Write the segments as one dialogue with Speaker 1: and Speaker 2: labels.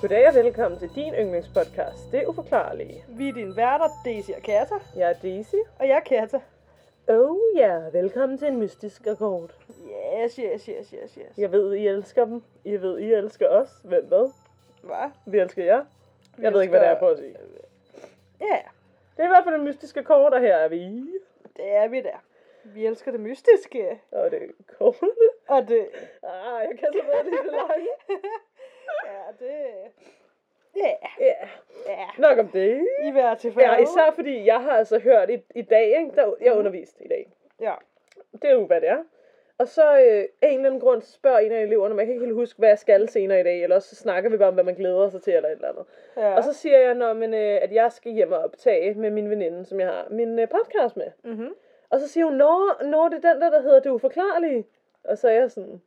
Speaker 1: Goddag og velkommen til din yndlingspodcast, Det Uforklarlige.
Speaker 2: Vi er dine værter, Daisy og Katta,
Speaker 1: Jeg er Daisy.
Speaker 2: og jeg er Katta.
Speaker 1: Oh ja, yeah. velkommen til en mystisk akkord.
Speaker 2: Yes, yes, yes, yes, yes.
Speaker 1: Jeg ved, I elsker dem. I ved, I elsker os. Hvem hvad?
Speaker 2: Hvad?
Speaker 1: Vi elsker jer.
Speaker 2: Vi
Speaker 1: Jeg ved ikke, hvad det
Speaker 2: elsker-
Speaker 1: er på at sige.
Speaker 2: Ja,
Speaker 1: Det er i hvert fald en mystisk akkord, og her er vi.
Speaker 2: det er vi der. Vi elsker det mystiske.
Speaker 1: Og det er korte.
Speaker 2: Og det...
Speaker 1: Ah, jeg kan så bedre lide det lange.
Speaker 2: ja, det... Ja,
Speaker 1: Ja,
Speaker 2: ja.
Speaker 1: nok om det.
Speaker 2: I hver tilfælde.
Speaker 1: Ja, især fordi jeg har altså hørt i, i dag, ikke? Der,
Speaker 2: Mm.
Speaker 1: jeg underviste i dag.
Speaker 2: Ja.
Speaker 1: Det er jo, hvad det er. Og så øh, af en eller anden grund spørger en af eleverne, man kan ikke helt huske, hvad jeg skal senere i dag, eller også så snakker vi bare om, hvad man glæder sig til, eller et eller andet.
Speaker 2: ja.
Speaker 1: Og så siger jeg, Nå, men, øh, at jeg skal hjem og optage med min veninde, som jeg har min øh, podcast med.
Speaker 2: Mhm.
Speaker 1: Og så siger hun, nå, nå, det er den der, der hedder Det Uforklarlige. Og så er jeg sådan,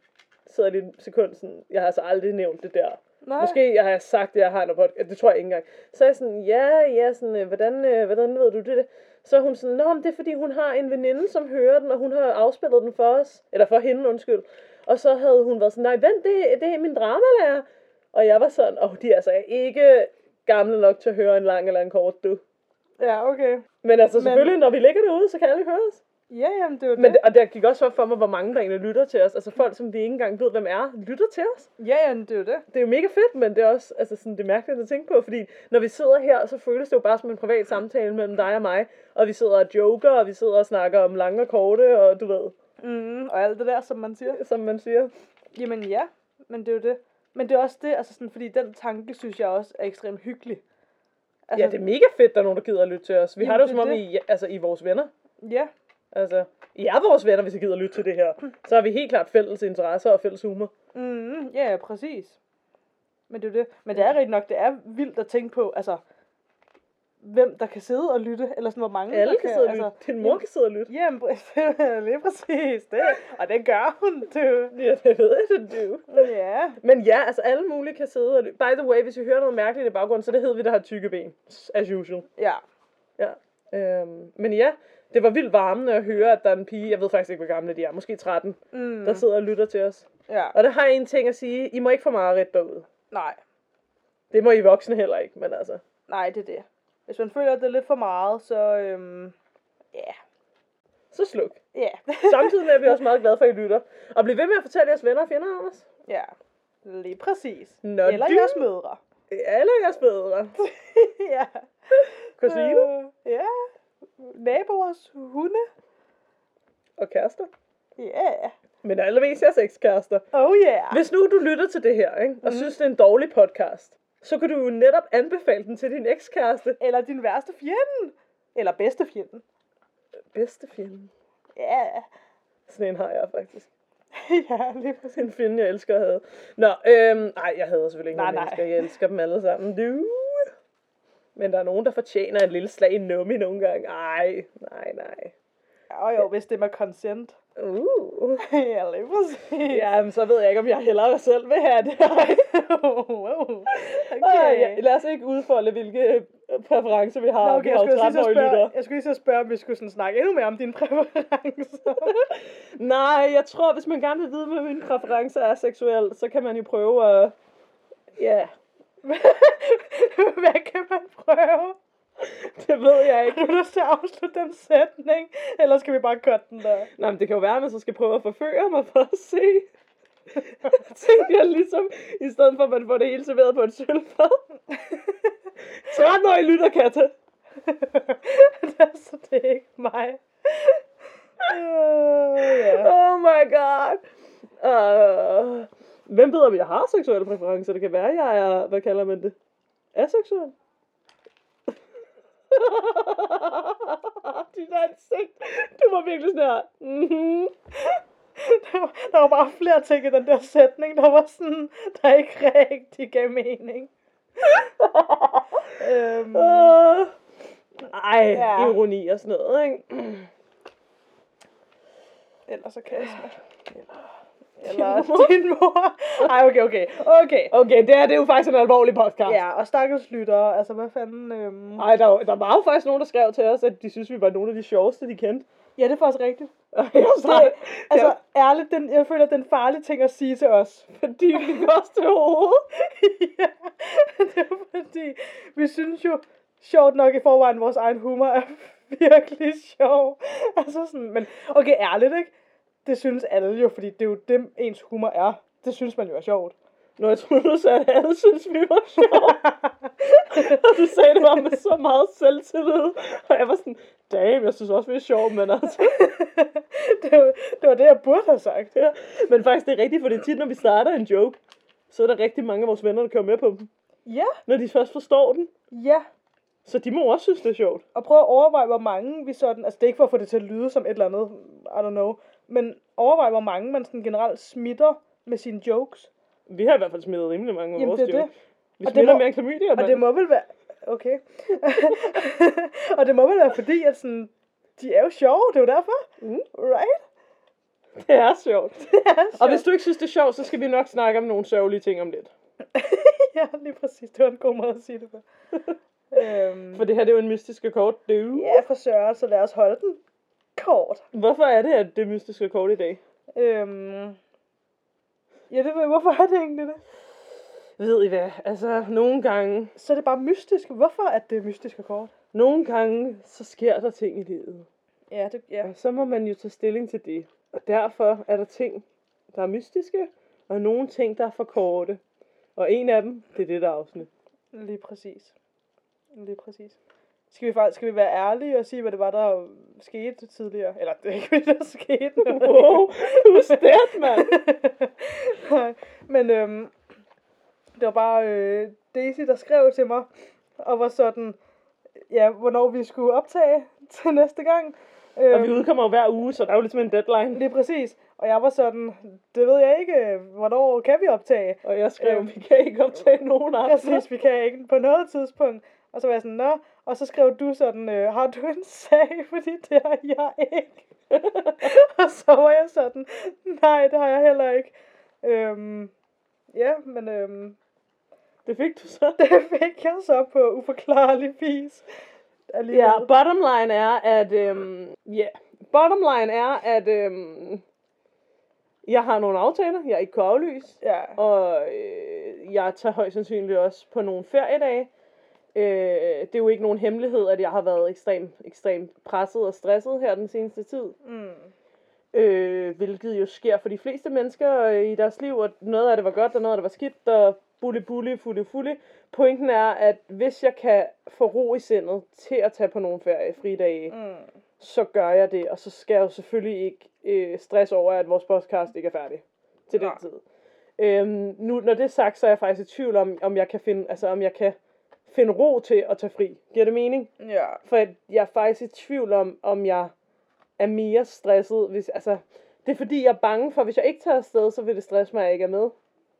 Speaker 1: sidder lige en sekund sådan, jeg har altså aldrig nævnt det der.
Speaker 2: Nej.
Speaker 1: Måske jeg har sagt, at jeg har en podcast. Det tror jeg ikke engang. Så er jeg sådan, ja, ja, sådan, øh, hvordan, øh, hvordan ved du det? Så er hun sådan, nå, men det er fordi, hun har en veninde, som hører den, og hun har afspillet den for os. Eller for hende, undskyld. Og så havde hun været sådan, nej, vent, det, det er min dramalærer. Og jeg var sådan, åh, oh, de er altså ikke gamle nok til at høre en lang eller en kort, du.
Speaker 2: Ja, okay.
Speaker 1: Men altså
Speaker 2: Men-
Speaker 1: selvfølgelig, når vi ligger derude, så kan alle høre os.
Speaker 2: Ja, jamen, det er jo
Speaker 1: Men,
Speaker 2: det.
Speaker 1: og der gik også op for mig, hvor mange der egentlig lytter til os. Altså folk, som vi ikke engang ved, hvem er, lytter til os
Speaker 2: Ja, jamen, det er jo det.
Speaker 1: det er jo mega fedt, men det er også altså sådan, det er mærkeligt at tænke på, fordi når vi sidder her, så føles det jo bare som en privat samtale mellem dig og mig, og vi sidder og joker, og vi sidder og snakker om lange og korte, og du ved,
Speaker 2: Mm, og alt det der, som man siger.
Speaker 1: som man siger.
Speaker 2: Jamen ja, men det er jo det. Men det er også det, altså sådan, fordi den tanke, synes jeg også er ekstremt hyggelig.
Speaker 1: Altså, ja, det er mega fedt, der er nogen, der gider at lytte til os. Vi har det jo
Speaker 2: Jamen,
Speaker 1: som
Speaker 2: det
Speaker 1: om,
Speaker 2: er
Speaker 1: I, altså, I er vores venner.
Speaker 2: Ja,
Speaker 1: Altså, I er vores venner, hvis I gider at lytte til det her. Så har vi helt klart fælles interesser og fælles humor.
Speaker 2: mm, ja, ja, præcis. Men det er jo det. Men det er rigtigt nok, det er vildt at tænke på, altså, hvem der kan sidde og lytte, eller sådan, hvor mange
Speaker 1: Alle
Speaker 2: der
Speaker 1: kan sidde og lytte.
Speaker 2: altså,
Speaker 1: Din mor kan sidde og lytte.
Speaker 2: Jamen, præ- lige præcis det. Og det gør hun, du.
Speaker 1: Ja, det ved jeg, det er jo.
Speaker 2: Ja,
Speaker 1: Men ja, altså alle mulige kan sidde og lytte. By the way, hvis I hører noget mærkeligt i baggrunden, så det hedder vi, der har tykke ben. As usual.
Speaker 2: ja.
Speaker 1: Øhm, men ja, det var vildt varmende at høre, at der er en pige, jeg ved faktisk ikke, hvor gamle de er, måske 13, mm.
Speaker 2: Mm,
Speaker 1: der sidder og lytter til os.
Speaker 2: ja.
Speaker 1: Og der har jeg en ting at sige, I må ikke få meget ret derude.
Speaker 2: Nej,
Speaker 1: Det må I voksne heller ikke, men altså.
Speaker 2: nej, det er det. Hvis man føler, at det er lidt for meget, så, øhm, ja,
Speaker 1: Så sluk.
Speaker 2: ja,
Speaker 1: Samtidig er vi også meget glade for, at I lytter. Og bliv ved med at fortælle jeres venner og fjender om os.
Speaker 2: ja. Lige præcis.
Speaker 1: Nå,
Speaker 2: eller
Speaker 1: du-
Speaker 2: jeres mødre.
Speaker 1: Alle jeres bedre.
Speaker 2: ja.
Speaker 1: Kusiner
Speaker 2: Øh, ja. Naboers hunde.
Speaker 1: og kærester.
Speaker 2: Ja. Yeah.
Speaker 1: Men allermest jeres ekskærester.
Speaker 2: Oh yeah.
Speaker 1: Hvis nu du lytter til det her, ikke, og synes, det er en dårlig podcast, så kan du jo netop anbefale den til din ekskæreste.
Speaker 2: Eller din værste fjende. Eller bedste fjende.
Speaker 1: Bedste fjende.
Speaker 2: Ja.
Speaker 1: Sådan en har jeg faktisk.
Speaker 2: ja, lige præcis.
Speaker 1: En fjende, jeg elsker at have. Nå, øhm, nej, jeg hader selvfølgelig ikke
Speaker 2: Nej,
Speaker 1: nogen
Speaker 2: nej.
Speaker 1: mennesker. Jeg elsker dem alle sammen. Du. Men der er nogen, der fortjener et lille slag i nummi nogle gange. Ej, nej, nej.
Speaker 2: Og jo, hvis det er med consent.
Speaker 1: Uh.
Speaker 2: ja, lige præcis.
Speaker 1: Ja, men så ved jeg ikke, om jeg hellere selv vil have det.
Speaker 2: wow.
Speaker 1: okay.
Speaker 2: Okay.
Speaker 1: ja, lad os ikke udfolde, hvilke øh, præferencer vi har.
Speaker 2: Nå,
Speaker 1: vi
Speaker 2: okay, jeg
Speaker 1: har jo
Speaker 2: skulle, lige så
Speaker 1: 13-årige lyttere.
Speaker 2: spørge, jeg skulle lige så spørge, om vi skulle sådan snakke endnu mere om dine præferencer.
Speaker 1: Nej, jeg tror, hvis man gerne vil vide, hvad mine præferencer er seksuelt, så kan man jo prøve at... Ja,
Speaker 2: Hvad kan man prøve?
Speaker 1: det ved jeg ikke.
Speaker 2: Har du lyst til at afslutte den sætning? Eller skal vi bare cutte den der?
Speaker 1: Nå, men det kan jo være, at man så skal prøve at forføre mig for at se. Tænkte jeg ligesom, i stedet for at man får det hele serveret på en sølvfad. 13 år i lytter, Katte.
Speaker 2: altså, det er ikke mig. Uh, ja.
Speaker 1: Oh my god. Uh, hvem ved, om jeg har seksuelle præferencer? Det kan være, jeg er, hvad kalder man det? Aseksuel? Dit ansigt. Du var virkelig sådan her. Mm-hmm.
Speaker 2: Der, var, der var bare flere ting i den der sætning, der var sådan, der ikke rigtig gav mening. øhm,
Speaker 1: Uh, ej, ja.
Speaker 2: Ja.
Speaker 1: ironi og sådan noget, ikke?
Speaker 2: ellers så kan jeg smage. Eller
Speaker 1: Din mor.
Speaker 2: din mor. Ej, okay, okay. Okay.
Speaker 1: Okay, det er, det er jo faktisk en alvorlig podcast.
Speaker 2: Ja, og stakkels lyttere, altså hvad fanden... Øhm...
Speaker 1: Ej, der, var- der var jo faktisk nogen, der skrev til os, at de synes, vi var nogle af de sjoveste, de kendte.
Speaker 2: Ja, det er faktisk rigtigt.
Speaker 1: Og jeg var
Speaker 2: Nej,
Speaker 1: sådan,
Speaker 2: altså
Speaker 1: Ja.
Speaker 2: ærligt, den, jeg føler, den farlige ting at sige til os.
Speaker 1: fordi vi koster hovedet.
Speaker 2: ja, det er fordi, vi synes jo, sjovt nok i forvejen, vores egen humor er virkelig sjov. Altså sådan, men okay, ærligt, ikke? Det synes alle jo, fordi det er jo dem, ens humor er. Det synes man jo er sjovt.
Speaker 1: Når jeg troede, du sagde, at alle synes, vi var sjove. og du sagde det bare med så meget selvtillid. Og jeg var sådan, damn, jeg synes også, vi er sjove, men altså.
Speaker 2: det, var, det var det, jeg burde have sagt.
Speaker 1: Ja. Men faktisk, det er rigtigt, for det er tit, når vi starter en joke, så er der rigtig mange af vores venner, der kører med på dem.
Speaker 2: Ja,
Speaker 1: Når de først forstår den,
Speaker 2: ja.
Speaker 1: så de må også synes, det er sjovt.
Speaker 2: Og prøv at overveje, hvor mange vi sådan... Altså, det er ikke for at få det til at lyde som et eller andet, I don't know. Men overvej, hvor mange man sådan generelt smitter med sine jokes.
Speaker 1: Vi har i hvert fald smidt rimelig mange af
Speaker 2: Jamen,
Speaker 1: vores
Speaker 2: det er
Speaker 1: jokes. Vi
Speaker 2: Og det
Speaker 1: smitter
Speaker 2: må-
Speaker 1: mere klamydia,
Speaker 2: Og det
Speaker 1: mand.
Speaker 2: må vel være... Okay. og det må vel være fordi, at sådan... De er jo sjove, det er jo derfor.
Speaker 1: Mm.
Speaker 2: Right?
Speaker 1: Det er sjovt.
Speaker 2: Ja,
Speaker 1: Og hvis du ikke synes, det er sjovt, så skal vi nok snakke om nogle sørgelige ting om lidt.
Speaker 2: ja, lige præcis. Det var en god måde at sige det på. øhm,
Speaker 1: For det her, det er jo en mystiske kort. Det er jo...
Speaker 2: Ja, for søren, så lad os holde den kort.
Speaker 1: Hvorfor er det, at det er mystiske kort i dag?
Speaker 2: Øhm, ja, det ved jeg, hvorfor er det egentlig det?
Speaker 1: Ved I hvad? Altså, nogle gange,
Speaker 2: Så er det bare mystisk. Hvorfor er det mystisk og kort?
Speaker 1: nogle gange, så sker der ting i livet.
Speaker 2: Ja, det, ja.
Speaker 1: Og så må man jo tage stilling til det. Og derfor er der ting, der er mystiske, og nogle ting, der er for korte. Og en af dem, det er det der afsnit.
Speaker 2: Lige præcis. Lige præcis. Skal vi, faktisk, skal vi være ærlige og sige, hvad det var, der skete tidligere? Eller det er ikke, hvad der skete. men-
Speaker 1: Wow, who's that, mand?
Speaker 2: Nej, Men øhm, det var bare øh, Daisy, der skrev til mig, og var sådan, ja, hvornår vi skulle optage til næste gang. Øhm,
Speaker 1: Og vi udkommer jo hver uge, så der er jo ligesom en deadline.
Speaker 2: Lige præcis. Og jeg var sådan, det ved jeg ikke, hvornår kan vi optage?
Speaker 1: Og jeg skrev, vi kan ikke optage nogen afsnit.
Speaker 2: Præcis, vi kan ikke på noget tidspunkt. Og så var jeg sådan, nå. Og så skrev du sådan, øh, har du en sag? Fordi det har jeg ikke. og så var jeg sådan, nej, det har jeg heller ikke. Øhm, ja, men øhm,
Speaker 1: Det fik du så.
Speaker 2: det fik jeg så på uforklarlig vis. Alligevel.
Speaker 1: Ja, bottom line er, at... Øhm, yeah. Bottom line er, at... Øhm, jeg har nogle aftaler, jeg ikke kan aflyse.
Speaker 2: ja.
Speaker 1: Og øh, jeg tager højst sandsynligt også på nogle feriedage. Øh, det er jo ikke nogen hemmelighed, at jeg har været ekstremt ekstrem presset og stresset her den seneste tid.
Speaker 2: Mm.
Speaker 1: Øh, hvilket jo sker for de fleste mennesker øh, i deres liv, og noget af det var godt, og noget af det var skidt, og bulle, bulle, fulde, fulde. Pointen er, at hvis jeg kan få ro i sindet til at tage på nogle ferie, fridage,
Speaker 2: Mm.
Speaker 1: så gør jeg det, og så skal jeg jo selvfølgelig ikke øh, stress over, at vores podcast ikke er færdig til den
Speaker 2: Nej.
Speaker 1: tid. Øhm, nu, når det er sagt, så er jeg faktisk i tvivl om, om jeg kan finde, altså, om jeg kan finde ro til at tage fri. Giver det mening?
Speaker 2: Ja.
Speaker 1: For jeg jeg er faktisk i tvivl om, om jeg er mere stresset. Hvis, altså, det er fordi, jeg er bange for, at hvis jeg ikke tager afsted, så vil det stresse mig, at jeg ikke er med.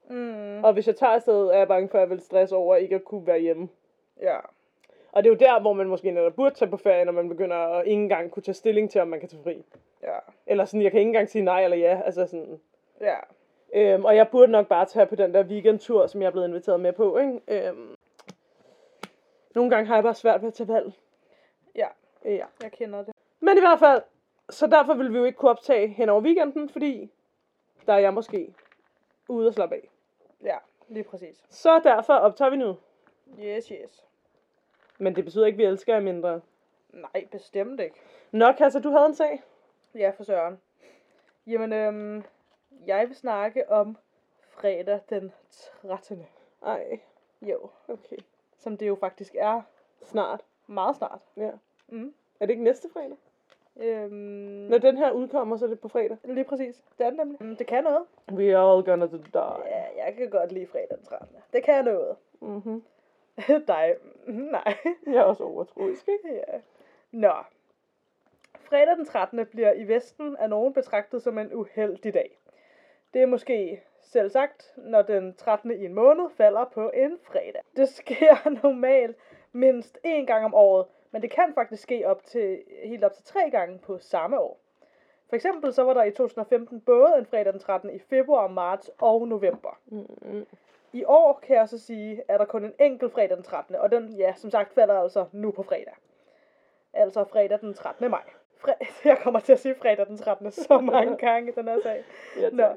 Speaker 2: Mm.
Speaker 1: Og hvis jeg tager afsted, er jeg bange for, at jeg vil stresse over ikke at kunne være hjemme.
Speaker 2: Ja.
Speaker 1: Og det er jo der, hvor man måske netop burde tage på ferie, når man begynder at ikke engang kunne tage stilling til, om man kan tage fri.
Speaker 2: Ja.
Speaker 1: Eller sådan, jeg kan ikke engang sige nej eller ja. Altså sådan.
Speaker 2: Ja.
Speaker 1: Øhm, og jeg burde nok bare tage på den der weekendtur, som jeg er blevet inviteret med på, ikke? Øhm. Nogle gange har jeg bare svært ved at tage valg. Øh,
Speaker 2: Ja.
Speaker 1: Ja.
Speaker 2: Jeg kender det.
Speaker 1: Men i hvert fald, så derfor ville vi jo ikke kunne optage hen over weekenden, fordi der er jeg måske ude og slappe af.
Speaker 2: Ja, lige præcis.
Speaker 1: Så derfor optager vi nu.
Speaker 2: Yes, yes.
Speaker 1: Men det betyder ikke, at vi elsker jer mindre.
Speaker 2: Nej, bestemt ikke.
Speaker 1: Nok, altså, du havde en sag.
Speaker 2: Ja, for søren. Jamen, øhm, jeg vil snakke om fredag den 13.
Speaker 1: Ej,
Speaker 2: Jo,
Speaker 1: okay.
Speaker 2: som det jo faktisk er
Speaker 1: Snart.
Speaker 2: meget snart.
Speaker 1: Ja.
Speaker 2: Mm.
Speaker 1: Er det ikke næste fredag?
Speaker 2: Øhm,
Speaker 1: Når den her udkommer, så er det på fredag.
Speaker 2: Lige præcis. Det er det nemlig. Mm, det kan noget.
Speaker 1: We are all gonna die.
Speaker 2: Ja, jeg kan godt lide fredag den 13. Det kan noget.
Speaker 1: Mm-hmm.
Speaker 2: Dig. Mhm, Nej.
Speaker 1: Jeg er også overtroisk, ikke?
Speaker 2: ja. Nå. Fredag den 13. bliver i Vesten af nogen betragtet som en uheldig dag. Det er måske selv sagt, når den 13. i en måned falder på en fredag. Det sker normalt mindst én gang om året, men det kan faktisk ske op til, helt op til tre gange på samme år. For eksempel så var der i 2015 både en fredag den 13. i februar, marts og november.
Speaker 1: Mm.
Speaker 2: I år, kan jeg så sige, er der kun en enkelt fredag den 13. Og den, ja, som sagt, falder altså nu på fredag. Altså fredag den 13. maj. Fre- jeg kommer til at sige fredag den 13. så mange gange i den her sag.
Speaker 1: Ja,
Speaker 2: Nå.
Speaker 1: tak.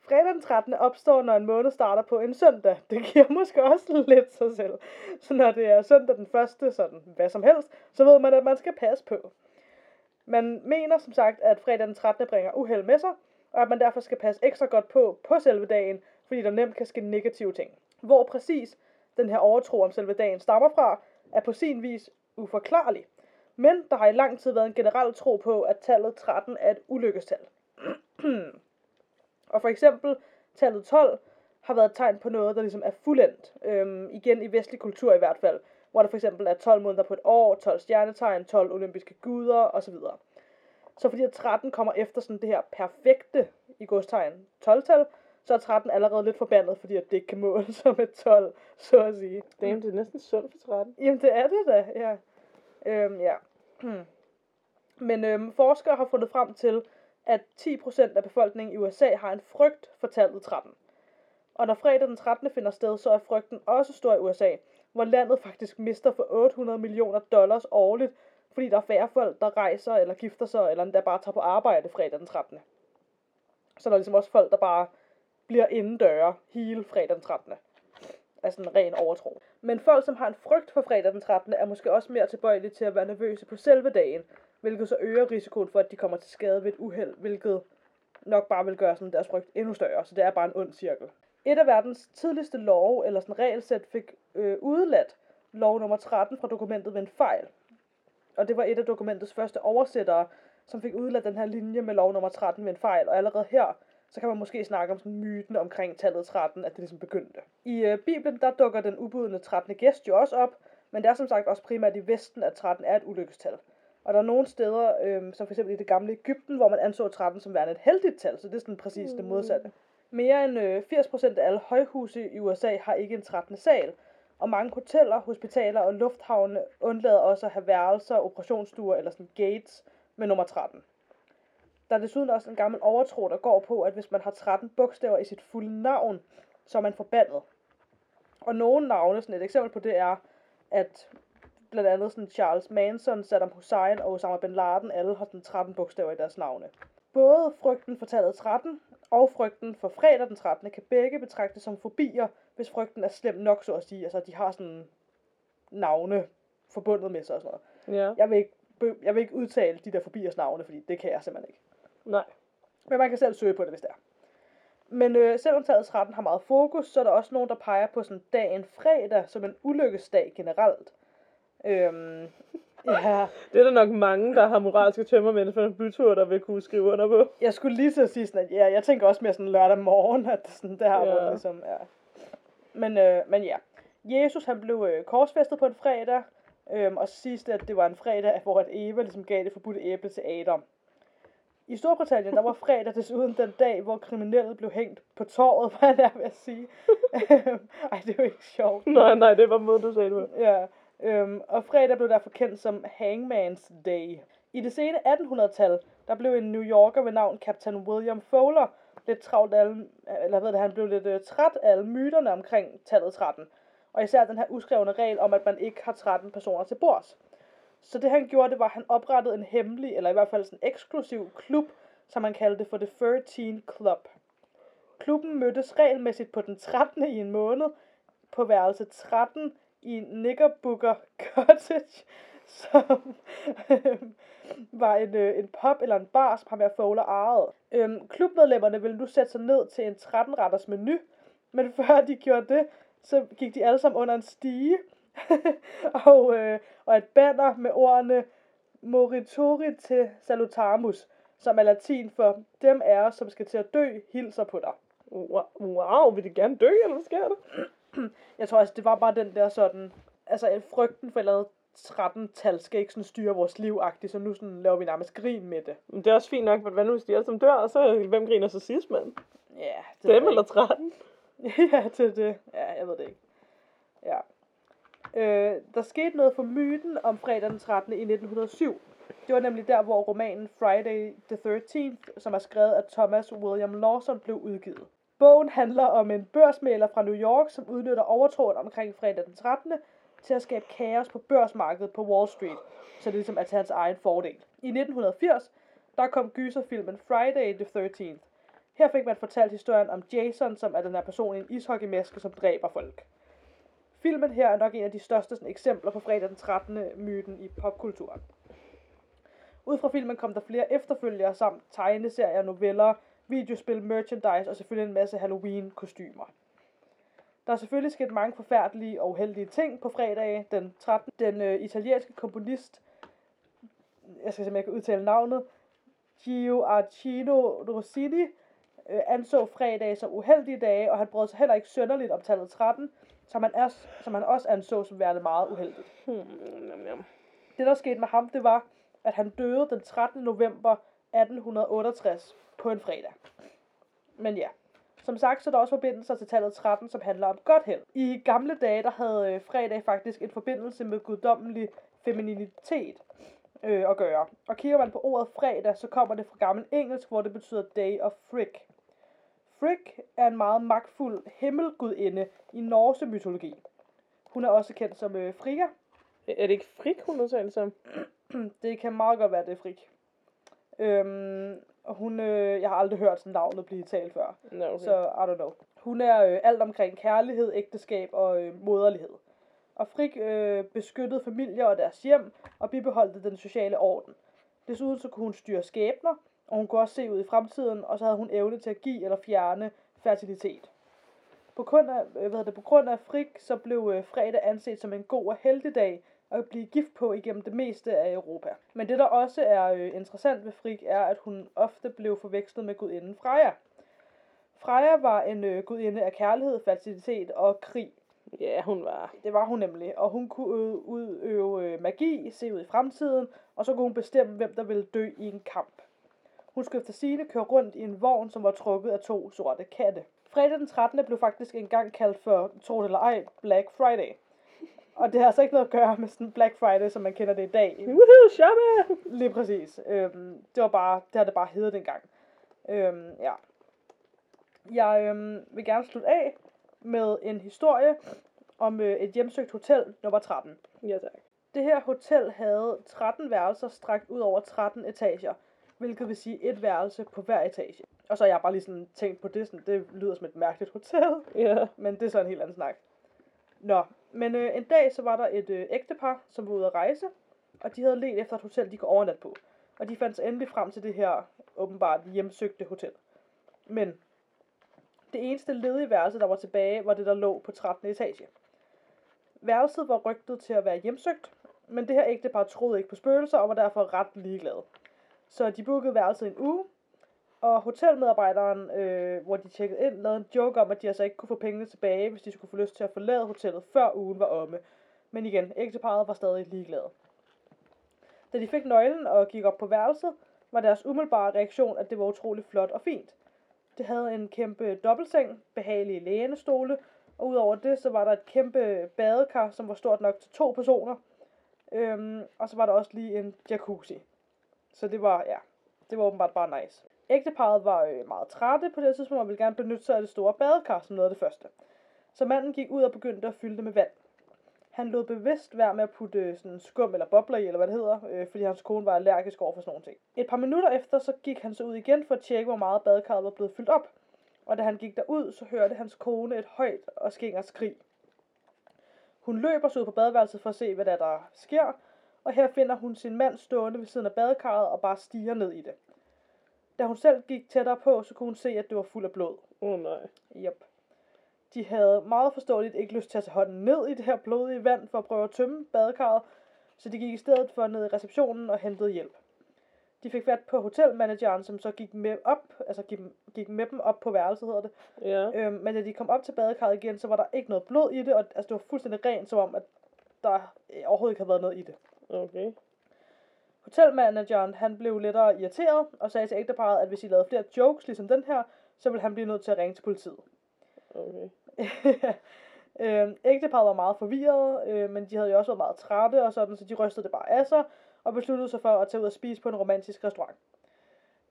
Speaker 2: Fredag den 13. opstår, når en måned starter på en søndag. Det giver måske også lidt sig selv. Så når det er søndag den første, sådan hvad som helst, så ved man, at man skal passe på. Man mener som sagt, at fredag den 13. bringer uheld med sig, og at man derfor skal passe ekstra godt på på selve dagen, fordi der nemt kan ske negative ting. Hvor præcis den her overtro om selve dagen stammer fra, er på sin vis uforklarlig. Men der har i lang tid været en generel tro på, at tallet 13 er et ulykkestal. Og for eksempel tallet 12 har været et tegn på noget, der ligesom er fuldendt. Øhm, igen i vestlig kultur i hvert fald, hvor der for eksempel er 12 måneder på et år, 12 stjernetegn, 12 olympiske guder osv. Så fordi at 13 kommer efter sådan det her perfekte i godstegn 12-tal, så er 13 allerede lidt forbandet, fordi at det ikke kan måles som et 12, så at sige.
Speaker 1: Damn, det er næsten sundt for 13.
Speaker 2: Jamen, det er det da, ja. Øhm, ja. Hmm. Men øhm, forskere har fundet frem til, at 10% af befolkningen i USA har en frygt for tallet 13. Og når fredag den 13. finder sted, så er frygten også stor i USA, hvor landet faktisk mister for 800 millioner dollars årligt, fordi der er færre folk, der rejser eller gifter sig, eller endda bare tager på arbejde fredag den 13. Så der er ligesom også folk, der bare bliver indendøre hele fredag den 13. Altså en ren overtro. Men folk, som har en frygt for fredag den 13. er måske også mere tilbøjelige til at være nervøse på selve dagen, hvilket så øger risikoen for, at de kommer til skade ved et uheld, hvilket nok bare vil gøre sådan deres frygt endnu større, så det er bare en ond cirkel. Et af verdens tidligste love, eller sådan regelsæt, fik øh, udeladt lov nummer 13 fra dokumentet ved en fejl. Og det var et af dokumentets første oversættere, som fik udeladt den her linje med lov nummer 13 ved en fejl, og allerede her så kan man måske snakke om sådan myten omkring tallet 13, at det ligesom begyndte. I øh, Bibelen, der dukker den ubudne 13. gæst jo også op, men det er som sagt også primært i Vesten, at 13 er et ulykkestal. Og der er nogle steder, øh, som f.eks. i det gamle Ægypten, hvor man anså 13 som værende et heldigt tal, så det er sådan præcis det modsatte. Mere end øh, 80% af alle højhuse i USA har ikke en 13. sal, og mange hoteller, hospitaler og lufthavne undlader også at have værelser, operationsstuer eller sådan gates med nummer 13. Der er desuden også en gammel overtro, der går på, at hvis man har 13 bogstaver i sit fulde navn, så er man forbandet. Og nogle navne, sådan et eksempel på det er, at blandt andet sådan Charles Manson, Saddam Hussein og Osama Bin Laden, alle har sådan 13 bogstaver i deres navne. Både frygten for tallet 13 og frygten for fredag den 13. kan begge betragtes som fobier, hvis frygten er slem nok, så at sige. Altså, de har sådan navne forbundet med sig og sådan noget.
Speaker 1: Ja.
Speaker 2: Jeg vil ikke, be- jeg vil ikke udtale de der fobiers navne, fordi det kan jeg simpelthen ikke.
Speaker 1: Nej.
Speaker 2: Men man kan selv søge på det, hvis det er. Men øh, selvom tallet 13 har meget fokus, så er der også nogen, der peger på sådan dagen fredag som en ulykkesdag generelt. Øhm, ja,
Speaker 1: Det er der nok mange, der har moralske tømmermænd for en bytur, der vil kunne skrive under på.
Speaker 2: jeg skulle lige til at sige sådan, at ja, jeg tænker også mere sådan lørdag morgen, at sådan der har
Speaker 1: Ja.
Speaker 2: ja. ligesom, ja. Men, øh, men ja, Jesus han blev øh, korsfæstet på en fredag, øhm, og så siges det, at det var en fredag, hvor at Eva ligesom gav det forbudte æble til Adam. I Storbritannien, der var fredag desuden den dag, hvor kriminelle blev hængt på torvet, var jeg nær ved at sige. Øhm, Ej, det er jo ikke sjovt.
Speaker 1: Nej, nej, det var måden, du sagde det på.
Speaker 2: Ja, øhm, og fredag blev derfor kendt som Hangman's Day. I det sene 1800-tal, der blev en New Yorker ved navn Captain William Fowler lidt travlt af alle, eller ved det, han blev lidt øh, træt af alle myterne omkring tallet 13. Og især den her uskrevne regel om, at man ikke har 13 personer til bords. Så det han gjorde, det var, at han oprettede en hemmelig, eller i hvert fald sådan en eksklusiv klub, som man kaldte det for The 13 Club. Klubben mødtes regelmæssigt på den 13. i en måned, på værelse 13 i Knickerbocker Cottage, som øhm, var en, øh, en pub eller en bar, som har været Fowler ejet. Øhm, klubmedlemmerne ville nu sætte sig ned til en 13-retters menu, men før de gjorde det, så gik de alle sammen under en stige, og, øh, og et banner med ordene Moritori til Salutamus, som er latin for dem er, os, som skal til at dø, hilser på dig.
Speaker 1: Wow, wow, vil de gerne dø, eller hvad sker der?
Speaker 2: Jeg tror altså, det var bare den der sådan, altså at frygten for et eller andet 13-tal skal ikke sådan styre vores liv -agtigt, så nu sådan laver vi nærmest grin med det.
Speaker 1: Men det er også fint nok, men hvad nu hvis de alle sammen dør, og så hvem griner så sidst, mand?
Speaker 2: Ja, det ved
Speaker 1: Dem
Speaker 2: jeg
Speaker 1: eller 13?
Speaker 2: ikke. ja, det er det. Ja, jeg ved det ikke. Ja. Øh, der skete noget for myten om fredag den 13. i 1907. Det var nemlig der, hvor romanen Friday the 13th, som er skrevet af Thomas William Lawson, blev udgivet. Bogen handler om en børsmæler fra New York, som udnytter overtroen omkring fredag den 13. til at skabe kaos på børsmarkedet på Wall Street, så det ligesom er til hans egen fordel. I 1980, der kom gyserfilmen Friday the 13th. Her fik man fortalt historien om Jason, som er den her person i en ishockeymaske, som dræber folk. Filmen her er nok en af de største sådan, eksempler på fredag den 13. myten i popkulturen. Ud fra filmen kom der flere efterfølgere samt tegneserier, noveller, videospil, merchandise og selvfølgelig en masse Halloween-kostymer. Der er selvfølgelig sket mange forfærdelige og uheldige ting på fredag den 13. Den øh, italienske komponist, jeg skal simpelthen ikke udtale navnet, Gio Arcino Rossini, øh, anså fredag som uheldige dage, og han brød sig heller ikke sønderligt om tallet 13, som han, er, som han også anså som værende meget uheldigt.
Speaker 1: Hmm, jam, jam.
Speaker 2: Det, der skete med ham, det var, at han døde den 13. november 1868 på en fredag. Men ja, som sagt, så er der også forbindelser til tallet 13, som handler om godt held. I gamle dage, der havde øh, fredag faktisk en forbindelse med guddommelig femininitet øh, at gøre. Og kigger man på ordet fredag, så kommer det fra gammel engelsk, hvor det betyder day of Frick. Frick er en meget magtfuld himmelgudinde i norse mytologi. Hun er også kendt som øh, Frigga,
Speaker 1: Er det ikke frik, hun udtaler sig om?
Speaker 2: det kan meget godt være, det er Frik. Øhm, og hun, øh, jeg har aldrig hørt sådan navnet blive talt før,
Speaker 1: Nå, okay.
Speaker 2: okay. så I don't know. Hun er øh, alt omkring kærlighed, ægteskab og øh, moderlighed. Og Frik øh, beskyttede familier og deres hjem og bibeholdte den sociale orden. Desuden så kunne hun styre skæbner, og hun kunne også se ud i fremtiden, og så havde hun evne til at give eller fjerne fertilitet. På grund af, øh, hvad hedder det, på grund af Frik, så blev øh, fredag anset som en god og heldig dag, at blive gift på igennem det meste af Europa. Men det, der også er øh, interessant ved Frik, er, at hun ofte blev forvekslet med gudinden Freja. Freja var en øh, gudinde af kærlighed, fertilitet og krig.
Speaker 1: Ja, hun var.
Speaker 2: Det var hun nemlig, og hun kunne ø- udøve øh, magi, se ud i fremtiden, og så kunne hun bestemme, hvem der ville dø i en kamp. Hun skulle efter sine køre rundt i en vogn, som var trukket af to sorte katte. Fredag den 13. blev faktisk engang kaldt for, tro det eller ej, Black Friday. Og det har altså ikke noget at gøre med sådan Black Friday, som man kender det i dag.
Speaker 1: Woohoo, shoppe!
Speaker 2: Lige præcis. Øhm, det var bare, det har det bare heddet dengang. Øhm, ja. Jeg øhm, vil gerne slutte af med en historie om øh, et hjemsøgt hotel nummer 13.
Speaker 1: Ja, tak.
Speaker 2: Det her hotel havde 13 værelser strakt ud over 13 etager, hvilket vil sige et værelse på hver etage. Og så har jeg bare lige sådan tænkt på det, sådan, det lyder som et mærkeligt hotel.
Speaker 1: Ja.
Speaker 2: Men det er så en helt anden snak. Nå, men øh, en dag så var der et øh, ægtepar, som var ude at rejse, og de havde let efter et hotel, de kunne overnatte på. Og de fandt så endelig frem til det her åbenbart hjemsøgte hotel. Men det eneste ledige værelse, der var tilbage, var det, der lå på 13. etage. Værelset var rygtet til at være hjemsøgt, men det her ægtepar troede ikke på spøgelser og var derfor ret ligeglade. Så de bookede værelset i en uge, og hotelmedarbejderen, øh, hvor de tjekkede ind, lavede en joke om, at de altså ikke kunne få pengene tilbage, hvis de skulle få lyst til at forlade hotellet, før ugen var omme. Men igen, ægteparret var stadig ligeglade. Da de fik nøglen og gik op på værelset, var deres umiddelbare reaktion, at det var utrolig flot og fint. Det havde en kæmpe dobbeltseng, behagelige lænestole, og udover det, så var der et kæmpe badekar, som var stort nok til to personer. Øhm, og så var der også lige en jacuzzi. Så det var, ja, det var åbenbart bare nice. Ægteparret var øh, meget trætte på det her tidspunkt, og ville gerne benytte sig af det store badekar som noget af det første. Så manden gik ud og begyndte at fylde det med vand. Han lod bevidst være med at putte øh, sådan skum eller bobler i, eller hvad det hedder, øh, fordi hans kone var allergisk over for sådan nogle ting. Et par minutter efter, så gik han så ud igen for at tjekke, hvor meget badekarret var blevet fyldt op. Og da han gik derud, så hørte hans kone et højt og skingert skrig. Hun løber så ud på badeværelset for at se, hvad der, er, der sker, og her finder hun sin mand stående ved siden af badekarret og bare stiger ned i det. Da hun selv gik tættere på, så kunne hun se, at det var fuld af blod.
Speaker 1: Åh oh, nej.
Speaker 2: Yep. De havde meget forståeligt ikke lyst til at tage hånden ned i det her blodige vand for at prøve at tømme badekarret, så de gik i stedet for ned i receptionen og hentede hjælp. De fik fat på hotelmanageren, som så gik med, op, altså gik, gik med dem op på værelset, hedder det.
Speaker 1: Ja.
Speaker 2: Øhm, men da de kom op til badekarret igen, så var der ikke noget blod i det, og altså, det var fuldstændig rent, som om, at der øh, overhovedet ikke havde været noget i det.
Speaker 1: Okay.
Speaker 2: Hotelmanageren han blev lettere irriteret og sagde til ægteparret, at hvis I lavede flere jokes ligesom den her, så ville han blive nødt til at ringe til politiet.
Speaker 1: Okay.
Speaker 2: Øh, ægteparret var meget forvirret, øh, men de havde jo også været meget trætte og sådan, så de rystede det bare af sig, og besluttede sig for at tage ud og spise på en romantisk restaurant.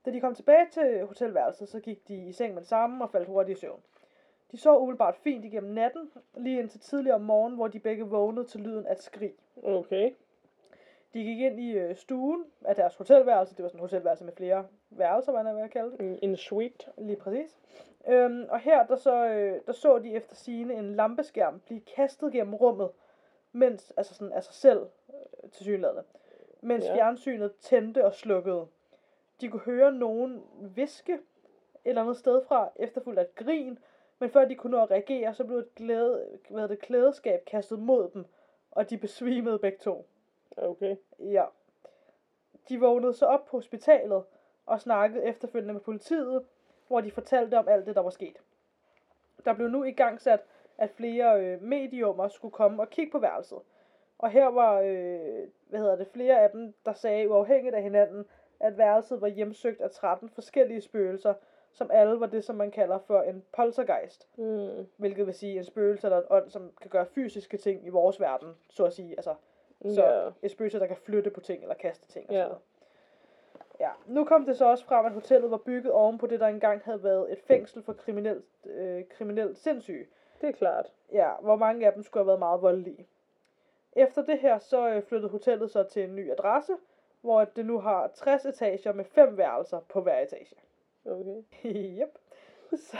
Speaker 2: Da de kom tilbage til hotelværelset, så gik de i seng med det samme og faldt hurtigt i søvn. De så umiddelbart fint igennem natten, lige indtil tidligere om morgenen, hvor de begge vågnede til lyden af et skrig.
Speaker 1: Okay.
Speaker 2: De gik ind i øh, stuen af deres hotelværelse. Det var sådan et hotelværelse med flere værelser, hvad man vil kalde det.
Speaker 1: En, en suite.
Speaker 2: Lige præcis. Øhm, og her der så, øh, der så de efter sigende en lampeskærm blive kastet gennem rummet, mens, altså sådan af sig selv øh, til synlædende, mens
Speaker 1: Ja.
Speaker 2: ja. fjernsynet tændte og slukkede. De kunne høre nogen viske et eller andet sted fra, efterfulgt af et grin, men før de kunne nå at reagere, så blev et glæde, hvad hedder det, klædeskab kastet mod dem, og de besvimede begge to.
Speaker 1: Okay.
Speaker 2: Ja. De vågnede så op på hospitalet og snakkede efterfølgende med politiet, hvor de fortalte om alt det, der var sket. Der blev nu i gang sat, at flere øh, mediumer skulle komme og kigge på værelset. Og her var, øh, hvad hedder det, flere af dem, der sagde uafhængigt af hinanden, at værelset var hjemsøgt af 13 forskellige spøgelser, som alle var det, som man kalder for en poltergeist.
Speaker 1: Mm.
Speaker 2: Hvilket vil sige en spøgelse eller en ånd, som kan gøre fysiske ting i vores verden, så at sige. Altså, så
Speaker 1: Ja.
Speaker 2: et spøgelse, der kan flytte på ting eller kaste ting. Og
Speaker 1: Ja.
Speaker 2: ja. ja. Nu kom det så også frem, at hotellet var bygget oven på det, der engang havde været et fængsel for kriminelt, øh, kriminelt sindssyge.
Speaker 1: Det er klart.
Speaker 2: Ja, hvor mange af dem skulle have været meget voldelige. Efter det her, så øh, flyttede hotellet så til en ny adresse, hvor det nu har 60 etager med fem værelser på hver etage.
Speaker 1: Okay.
Speaker 2: Yep. Så,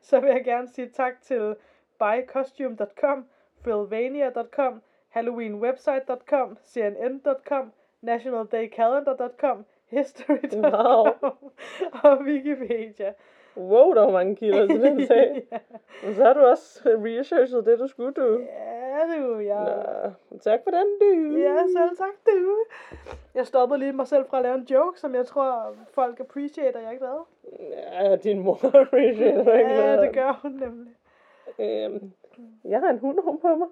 Speaker 2: så vil jeg gerne sige tak til buycostume.com, philvania.com, halloweenwebsite.com, cnn.com, nationaldaycalendar.com, history.com
Speaker 1: Wow.
Speaker 2: og Wikipedia.
Speaker 1: Wow, der var mange kilder til den sag.
Speaker 2: ja,
Speaker 1: Men så har du også researchet det, du skulle, du.
Speaker 2: det er jo jeg.
Speaker 1: Nå, tak for den, du.
Speaker 2: Ja, selv tak du. Jeg stoppede lige mig selv fra at lave en joke, som jeg tror folk appreciater, jeg ikke lavede.
Speaker 1: Ja, din mor appreciater ikke
Speaker 2: Ja,
Speaker 1: noget.
Speaker 2: det gør hun nemlig.
Speaker 1: Øhm, jeg har en hundrum på mig.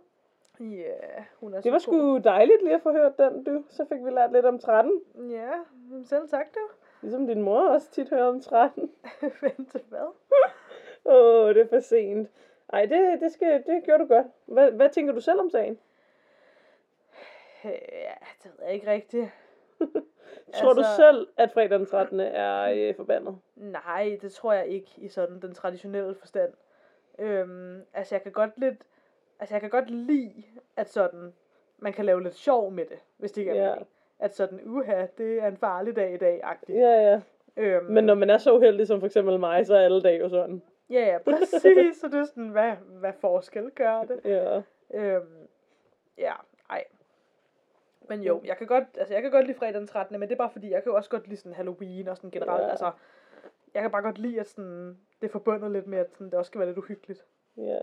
Speaker 2: Ja, yeah, hun er
Speaker 1: Det var
Speaker 2: så god.
Speaker 1: sgu dejligt lige at få hørt den, du. Så fik vi lært lidt om 13.
Speaker 2: Ja, selv tak du.
Speaker 1: Ligesom din mor også tit hører om 13.
Speaker 2: Vent, hvad?
Speaker 1: Åh, det er for sent. Ej, det, det, skal, det gjorde du godt. Hvad, hvad tænker du selv om sagen?
Speaker 2: Øh, ja, det ved jeg ikke rigtigt.
Speaker 1: Tror du
Speaker 2: Altså-
Speaker 1: selv, at fredag den 13. er øh, forbandet?
Speaker 2: Nej, det tror jeg ikke i sådan den traditionelle forstand. Øhm, altså, jeg kan godt lidt... Altså, jeg kan godt lide, at sådan... Man kan lave lidt sjov med det, hvis det ikke er
Speaker 1: Ja.
Speaker 2: mening. At sådan, uha, det er en farlig dag i dag, agtigt.
Speaker 1: Ja, ja.
Speaker 2: Øhm,
Speaker 1: Men når man er så uheldig som for eksempel mig, så er alle dage jo sådan.
Speaker 2: Ja, ja, præcis. så det er sådan, hvad, hvad forskel gør det?
Speaker 1: Ja.
Speaker 2: Øhm, ja, ej. Men jo, jeg kan godt, altså jeg kan godt lide fredag den 13. Men det er bare fordi, jeg kan jo også godt lide sådan Halloween og sådan generelt.
Speaker 1: Ja.
Speaker 2: Ja. Altså, jeg kan bare godt lide, at sådan, det er forbundet lidt med, at sådan, det også skal være lidt uhyggeligt.
Speaker 1: Ja.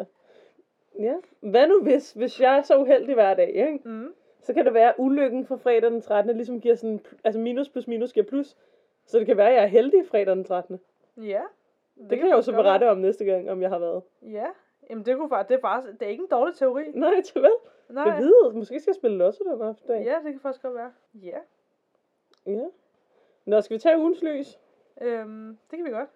Speaker 1: Ja. Hvad nu hvis, hvis jeg er så uheldig hver dag, ikke?
Speaker 2: Mm.
Speaker 1: så kan det være, at ulykken fra fredag den 13. ligesom giver sådan, altså minus plus minus giver plus. Så det kan være, at jeg er heldig fredag den 13. Det,
Speaker 2: Ja.
Speaker 1: det kan jeg jo så
Speaker 2: godt være.
Speaker 1: berette om næste gang, om jeg har været.
Speaker 2: Ja. Jamen det kunne faktisk, det er faktisk, det er ikke en dårlig teori.
Speaker 1: Nej, til vel.
Speaker 2: Nej.
Speaker 1: Jeg ved, måske skal jeg spille lotto den aften. dag.
Speaker 2: Ja, det kan faktisk godt være. Ja.
Speaker 1: ja. Nå, skal vi tage ugens lys?
Speaker 2: Øhm, det kan vi godt.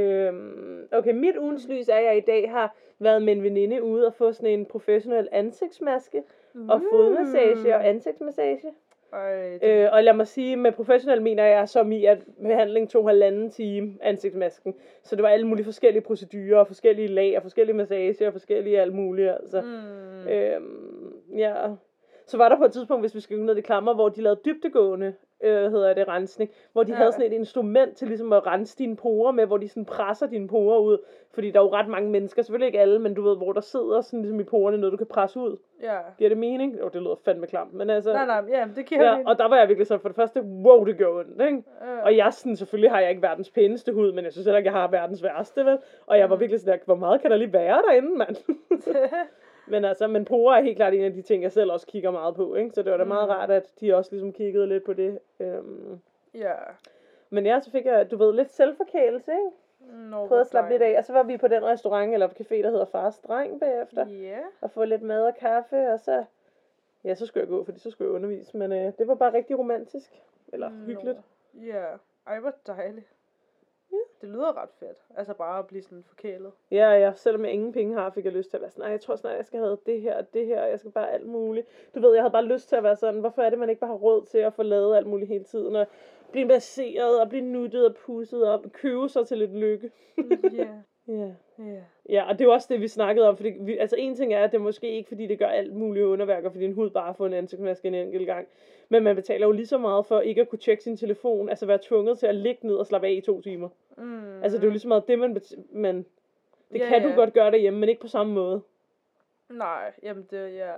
Speaker 1: Øhm, okay, mit ugens lys er, at jeg i dag har været med en veninde ude og få sådan en professionel ansigtsmaske og
Speaker 2: Mm.
Speaker 1: fodmassage og ansigtsmassage.
Speaker 2: Øj, Mm. det,
Speaker 1: Øh, og lad mig sige, med professionel mener jeg som i, at behandling tog halvanden time ansigtsmasken. Så det var alle mulige forskellige procedurer, og forskellige lag, og forskellige massager, og forskellige alt muligt. Altså.
Speaker 2: mm.
Speaker 1: Mm. Øh, ja. Så var der på et tidspunkt, hvis vi skal gå ned i klammer, hvor de lavede dybtegående, øh, hedder det, rensning. Hvor de
Speaker 2: Ja.
Speaker 1: ja. havde sådan et instrument til ligesom at rense dine porer med, hvor de sådan presser dine porer ud. Fordi der er jo ret mange mennesker, selvfølgelig ikke alle, men du ved, hvor der sidder sådan ligesom i porerne noget, du kan presse ud.
Speaker 2: ja.
Speaker 1: Giver det mening? Jo, det lyder fandme klamt, men altså...
Speaker 2: Nej, nej, ja, det giver
Speaker 1: Ja,
Speaker 2: mening.
Speaker 1: og der var jeg virkelig så for det første, wow, det gjorde ondt, ikke?
Speaker 2: Øh,
Speaker 1: Og jeg er sådan, selvfølgelig har jeg ikke verdens pæneste hud, men jeg synes heller ikke, jeg har verdens værste, vel? Og jeg var
Speaker 2: Mm.
Speaker 1: virkelig sådan der, hvor meget kan der lige være derinde, mand? men altså, men porer er helt klart en af de ting, jeg selv også kigger meget på, ikke? Så det var da meget
Speaker 2: Mm.
Speaker 1: rart, at de også ligesom kiggede lidt på det. Øhm.
Speaker 2: ja.
Speaker 1: Men ja, så fik jeg, du ved, lidt selvforkælelse, ikke?
Speaker 2: No,
Speaker 1: Prøvede at slappe lidt af, og så var vi på den restaurant eller café, der hedder Fars Dreng bagefter.
Speaker 2: Ja.
Speaker 1: og få lidt mad og kaffe, og så, ja, så skulle jeg gå, fordi så skulle jeg undervise,
Speaker 2: Mm,
Speaker 1: men øh, det var bare rigtig romantisk, eller
Speaker 2: Nå.
Speaker 1: hyggeligt.
Speaker 2: Ja. Ej, hvor dejligt. Det lyder ret fedt. Altså bare at blive sådan forkælet.
Speaker 1: Ja, ja, selvom jeg ingen penge har, fik jeg lyst til at være sådan, nej, jeg tror snart, jeg skal have det her og det her, og jeg skal bare alt muligt. Du ved, jeg havde bare lyst til at være sådan, hvorfor er det, man ikke bare har råd til at få lavet alt muligt hele tiden, og blive baseret, og blive nuttet og pusset op, og købe sig til lidt lykke.
Speaker 2: Ja.
Speaker 1: Ja.
Speaker 2: Ja.
Speaker 1: Ja, og det er jo også det, vi snakkede om, fordi vi, altså en ting er, at det er måske ikke, fordi det gør alt muligt underværker, fordi en hud bare har fået en ansigtsmaske en enkelt gang, men man betaler jo lige så meget for ikke at kunne tjekke sin telefon, altså være tvunget til at ligge ned og slappe af i to timer.
Speaker 2: Mm.
Speaker 1: Altså, det er jo ligesom meget det, man... bet- man det
Speaker 2: Ja,
Speaker 1: kan du
Speaker 2: ja.
Speaker 1: godt gøre derhjemme, men ikke på samme måde.
Speaker 2: Nej, jamen det, ja.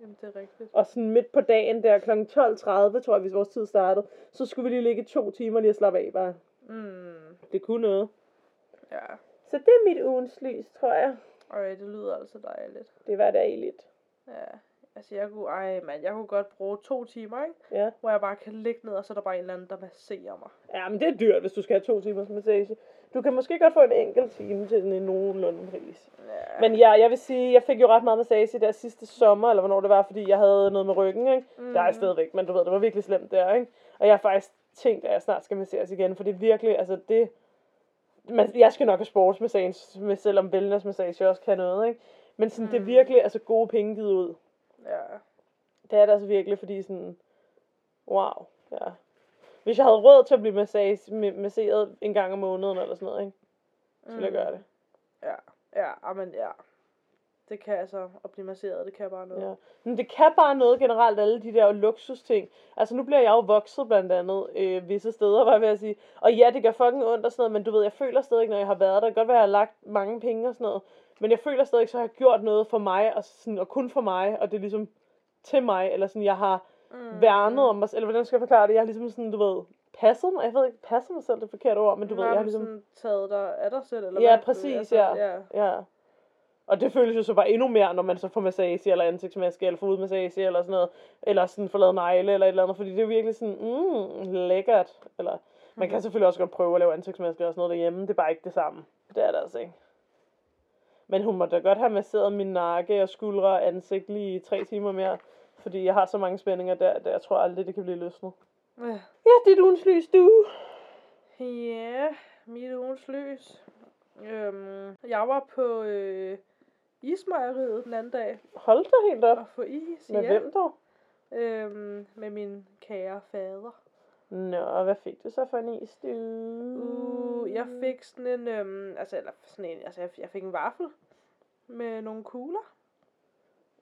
Speaker 2: jamen det er rigtigt.
Speaker 1: Og sådan midt på dagen, der kl. 12.30, tror jeg, hvis vores tid startede, så skulle vi lige ligge i to timer lige og slappe af bare.
Speaker 2: Mm.
Speaker 1: Det kunne noget.
Speaker 2: Ja.
Speaker 1: Så det er mit ugens lys, tror jeg.
Speaker 2: Øj, det lyder altså dejligt.
Speaker 1: Det var da lidt.
Speaker 2: Ja. Altså jeg kunne, ej mand, jeg kunne godt bruge to timer, ikke?
Speaker 1: Ja.
Speaker 2: Hvor jeg bare kan ligge ned, og så er der bare en eller anden, der masserer mig.
Speaker 1: ja, men det er dyrt, hvis du skal have to timers massage. Du kan måske godt få en enkelt time til en nogenlunde pris.
Speaker 2: Ja.
Speaker 1: Men ja, jeg vil sige, jeg fik jo ret meget massage der sidste sommer, eller hvornår det var, fordi jeg havde noget med ryggen, ikke? Mm. Der er jeg stadigvæk, men du ved, det var virkelig slemt der, ikke? Og jeg har faktisk tænkt, at jeg snart skal masseres igen, for det er virkelig, altså det... Man, jeg skal nok have sportsmassage, med- selvom wellnessmassage også kan noget, ikke? Men sådan, mm. det er virkelig altså gode penge givet ud.
Speaker 2: Ja.
Speaker 1: Det er det altså virkelig, fordi sådan... Wow, ja. Hvis jeg havde råd til at blive massage, ma- masseret en gang om måneden eller sådan noget, ikke? Så ville jeg gøre det.
Speaker 2: Ja. Mm. Ja, amen, ja. Det kan altså, at blive masseret, det kan bare noget.
Speaker 1: Ja. Men det kan bare noget generelt, alle de der luksusting. Altså nu bliver jeg jo vokset blandt andet øh, visse steder, var jeg ved at sige. Og ja, det gør fucking ondt og sådan noget, men du ved, jeg føler stadig, når jeg har været der. Det kan godt være, at jeg har lagt mange penge og sådan noget. Men jeg føler stadig, så har jeg gjort noget for mig, og, sådan, og kun for mig, og det er ligesom til mig, eller sådan, jeg har
Speaker 2: Mm.
Speaker 1: værnet om mig selv, eller hvordan skal jeg forklare det? Jeg har ligesom sådan, du ved, passet mig, jeg ved ikke, passet mig selv, det er et forkert ord, men du ved,
Speaker 2: Nå,
Speaker 1: jeg har
Speaker 2: men
Speaker 1: ligesom,
Speaker 2: sådan taget dig af dig selv, eller
Speaker 1: Ja,
Speaker 2: hvad? Du-
Speaker 1: præcis,
Speaker 2: altså,
Speaker 1: ja.
Speaker 2: ja.
Speaker 1: Ja. Og det føles jo så bare endnu mere, når man så får massage, eller ansigtsmaske, eller fodmassage, eller sådan noget. Eller sådan får lavet negle, eller et eller andet. Fordi det er jo virkelig sådan, mm, lækkert. Eller, man kan selvfølgelig også godt prøve at lave ansigtsmaske og sådan noget derhjemme. Det er bare ikke det samme. Det er det altså ikke. Men hun må da godt have masseret min nakke og skuldre og ansigt lige i tre timer mere. Fordi jeg har så mange spændinger der, at jeg tror aldrig, det kan blive løsnet.
Speaker 2: Ja.
Speaker 1: Ja, det er ugens lys, du.
Speaker 2: Ja, mit ugens lys. Øhm, jeg var på øh, ismejeriet den anden dag
Speaker 1: Hold dig helt op.
Speaker 2: og få is
Speaker 1: Med
Speaker 2: hjem
Speaker 1: hvem dog?
Speaker 2: øhm, med min kære fader.
Speaker 1: Nå, hvad fik du så for en is, du?
Speaker 2: Uh, jeg
Speaker 1: Mm.
Speaker 2: fik sådan en, øhm, altså, eller sådan en, altså jeg, jeg fik en vaffel med nogle kugler,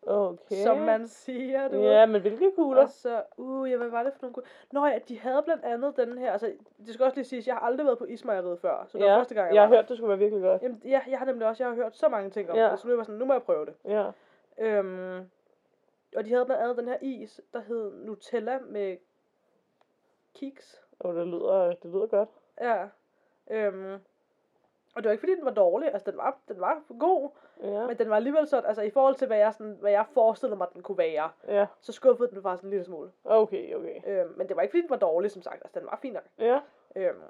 Speaker 1: Okay.
Speaker 2: okay. som man siger, du
Speaker 1: Ja, men hvilke kugler?
Speaker 2: Og så, uh, ja, hvad var det for nogle gode? Nå ja, de havde blandt andet den her, altså, det skal også lige siges, jeg har aldrig været på Ismejeriet før, så det
Speaker 1: ja,
Speaker 2: var første gang, jeg,
Speaker 1: jeg har
Speaker 2: var der.
Speaker 1: hørt, det skulle være virkelig godt.
Speaker 2: Jamen, ja, jeg har nemlig også, jeg har hørt så mange ting om
Speaker 1: Ja.
Speaker 2: ja. det, så nu var jeg sådan, nu må jeg prøve det.
Speaker 1: Ja.
Speaker 2: Øhm, og de havde blandt andet den her is, der hed Nutella med kiks.
Speaker 1: Og det lyder, det lyder godt.
Speaker 2: Ja. Øhm, og det var ikke fordi, den var dårlig, altså den var, den var god,
Speaker 1: Ja.
Speaker 2: men den var alligevel sådan, altså i forhold til, hvad jeg, sådan, hvad jeg forestillede mig, den kunne være,
Speaker 1: Ja.
Speaker 2: så skuffede den faktisk en lille smule.
Speaker 1: Okay, okay.
Speaker 2: Øhm, men det var ikke fordi, den var dårlig, som sagt, altså den var fin nok.
Speaker 1: Ja.
Speaker 2: Øhm,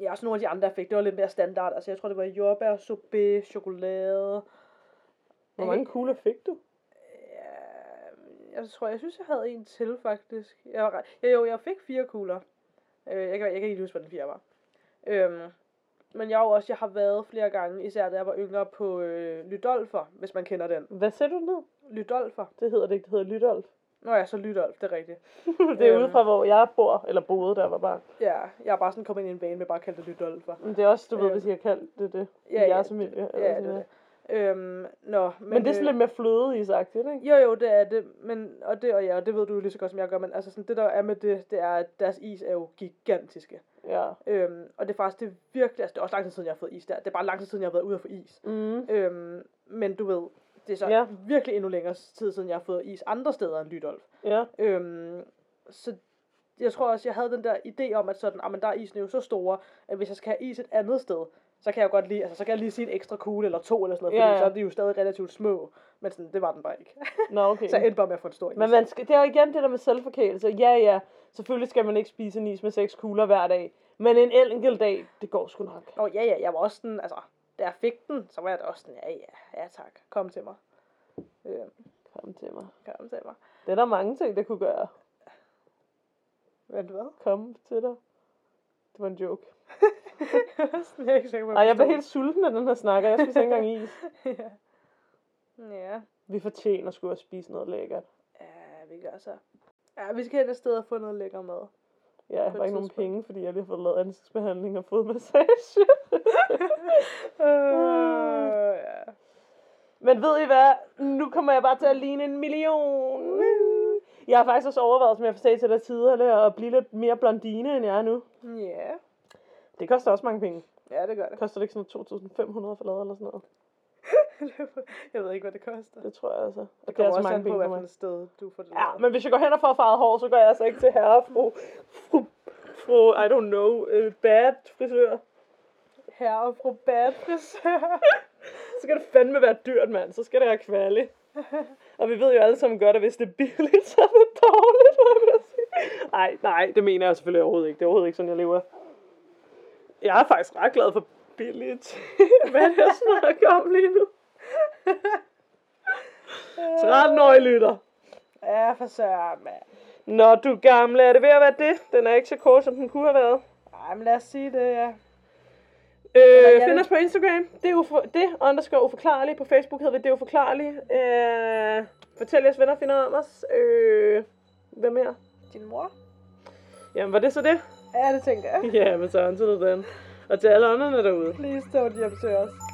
Speaker 2: ja, også nogle af de andre, jeg fik, det var lidt mere standard. Altså, jeg tror, det var jordbær, sorbet, chokolade.
Speaker 1: Hvor mange
Speaker 2: Øh.
Speaker 1: kugler fik du?
Speaker 2: Ja, jeg tror, jeg synes, jeg havde en til, faktisk. Jeg var, ret- ja, jo, jeg fik fire kugler. Øh, jeg, kan, jeg kan ikke huske, hvad den fjerde var. Øhm, men jeg har jo også, jeg har været flere gange, især da jeg var yngre, på øh, Lydolfer, hvis man kender den.
Speaker 1: Hvad sætter du ned?
Speaker 2: Lydolfer.
Speaker 1: Det hedder det ikke, det hedder Lytolf.
Speaker 2: Nå ja, så Lydolf, det er rigtigt.
Speaker 1: det er
Speaker 2: Øhm.
Speaker 1: ude fra, hvor jeg bor, eller boede, der var barn.
Speaker 2: Ja, jeg er bare sådan kommet ind i en vane med bare at kalde det Lydolfer.
Speaker 1: Men det er også, du ved,
Speaker 2: Øhm.
Speaker 1: hvis jeg har kaldt det det. I
Speaker 2: Ja, ja,
Speaker 1: jeres familie. eller sådan
Speaker 2: Ja, det er
Speaker 1: noget.
Speaker 2: det. Øhm, nå, men,
Speaker 1: Men det er sådan lidt mere fløde i sagt, ikke?
Speaker 2: Jo, jo, det er det, men, og det, og ja, og det ved du jo lige så godt, som jeg gør, men altså sådan, det der er med det, det er, at deres is er jo gigantiske.
Speaker 1: Ja.
Speaker 2: Øhm, og det er faktisk, det er virkelig, altså det er også lang tid siden, jeg har fået is der. Det er bare lang tid siden, jeg har været ude og få is.
Speaker 1: Mm.
Speaker 2: Øhm, men du ved, det er så
Speaker 1: Ja.
Speaker 2: ja. virkelig endnu længere tid siden, jeg har fået is andre steder end Lydolf.
Speaker 1: Ja.
Speaker 2: Øhm, så jeg tror også, jeg havde den der idé om, at sådan, ah, men der er isen jo så store, at hvis jeg skal have is et andet sted, så kan jeg godt lige, altså, så kan jeg lige sige en ekstra kugle eller to eller sådan noget,
Speaker 1: Ja,
Speaker 2: fordi
Speaker 1: ja.
Speaker 2: så er de jo stadig relativt små. Men sådan, det var den bare ikke.
Speaker 1: Nå, okay.
Speaker 2: så jeg endte bare med at få en stor is.
Speaker 1: Men man skal, det er jo igen det der med selvforkælelse. Ja, ja, selvfølgelig skal man ikke spise en is med seks kugler hver dag. Men en enkelt dag, det går sgu nok.
Speaker 2: Nå, ja, ja, jeg var også sådan, altså, da jeg fik den, så var jeg da også sådan, ja, ja, ja tak, kom til mig. Øh,
Speaker 1: Kom til mig.
Speaker 2: kom til mig.
Speaker 1: Det er der mange ting, der kunne gøre.
Speaker 2: Men hvad?
Speaker 1: Kom til dig. Det var en joke.
Speaker 2: jeg er sådan, jeg er ikke sikker på, at
Speaker 1: Ej, jeg bliver
Speaker 2: forstår
Speaker 1: helt sulten af den her snakker. Jeg spiser ikke engang is.
Speaker 2: det. ja. ja.
Speaker 1: Vi fortjener sgu at spise noget lækkert.
Speaker 2: Ja, vi gør så. Ja, vi skal hen et sted og få noget lækker mad.
Speaker 1: Ja, jeg
Speaker 2: På
Speaker 1: har
Speaker 2: et
Speaker 1: ikke nogen
Speaker 2: tidspunkt.
Speaker 1: penge, fordi jeg lige har fået lavet ansigtsbehandling og fodmassage.
Speaker 2: uh, ja.
Speaker 1: Men ved I hvad? Nu kommer jeg bare til at ligne en million. Jeg har faktisk også overvejet, som jeg sagde til dig tidligere, at blive lidt mere blondine, end jeg er nu.
Speaker 2: ja.
Speaker 1: Det koster også mange penge.
Speaker 2: Ja, det gør det.
Speaker 1: Koster det ikke sådan 2.500 for lavet eller sådan noget?
Speaker 2: jeg ved ikke, hvad det koster.
Speaker 1: Det tror jeg altså. Og
Speaker 2: Det kommer også
Speaker 1: mange
Speaker 2: an på,
Speaker 1: penge
Speaker 2: hvad
Speaker 1: for
Speaker 2: for
Speaker 1: mig.
Speaker 2: et sted du får det
Speaker 1: Ja,
Speaker 2: lavet.
Speaker 1: men hvis jeg går hen og får farvet hår, så går jeg altså ikke til herre og fru, fru, fru I don't know, uh, bad frisør.
Speaker 2: Herre og fru Bad frisør.
Speaker 1: Så skal det fandme være dyrt, mand. Så skal det være kvalle. Og vi ved jo alle sammen godt, at hvis det er billigt, så er det dårligt. var jeg ved at sige. Nej, nej, det mener jeg selvfølgelig overhovedet ikke. Det er overhovedet ikke sådan, jeg lever. Jeg er faktisk ret glad for billigt. Hvad er det, jeg snakker om lige nu? 13 år lytter.
Speaker 2: ja, for søren, mand.
Speaker 1: Nå, du gamle, er det ved at være det? Den er ikke så kort, som den kunne have været.
Speaker 2: Ej, men lad os sige det, ja. jeg
Speaker 1: Øh,
Speaker 2: ved-
Speaker 1: find os på Instagram. Det er ufor, det underscore uforklarlige. På Facebook hedder vi det uforklarlige. Øh, fortæl jeres venner, finder om os. Øh, hvad mere?
Speaker 2: Din mor?
Speaker 1: Jamen, var det så det?
Speaker 2: Ja, det tænker jeg.
Speaker 1: Ja, men så er det den. Og til alle andre derude.
Speaker 2: Please don't hjem til os.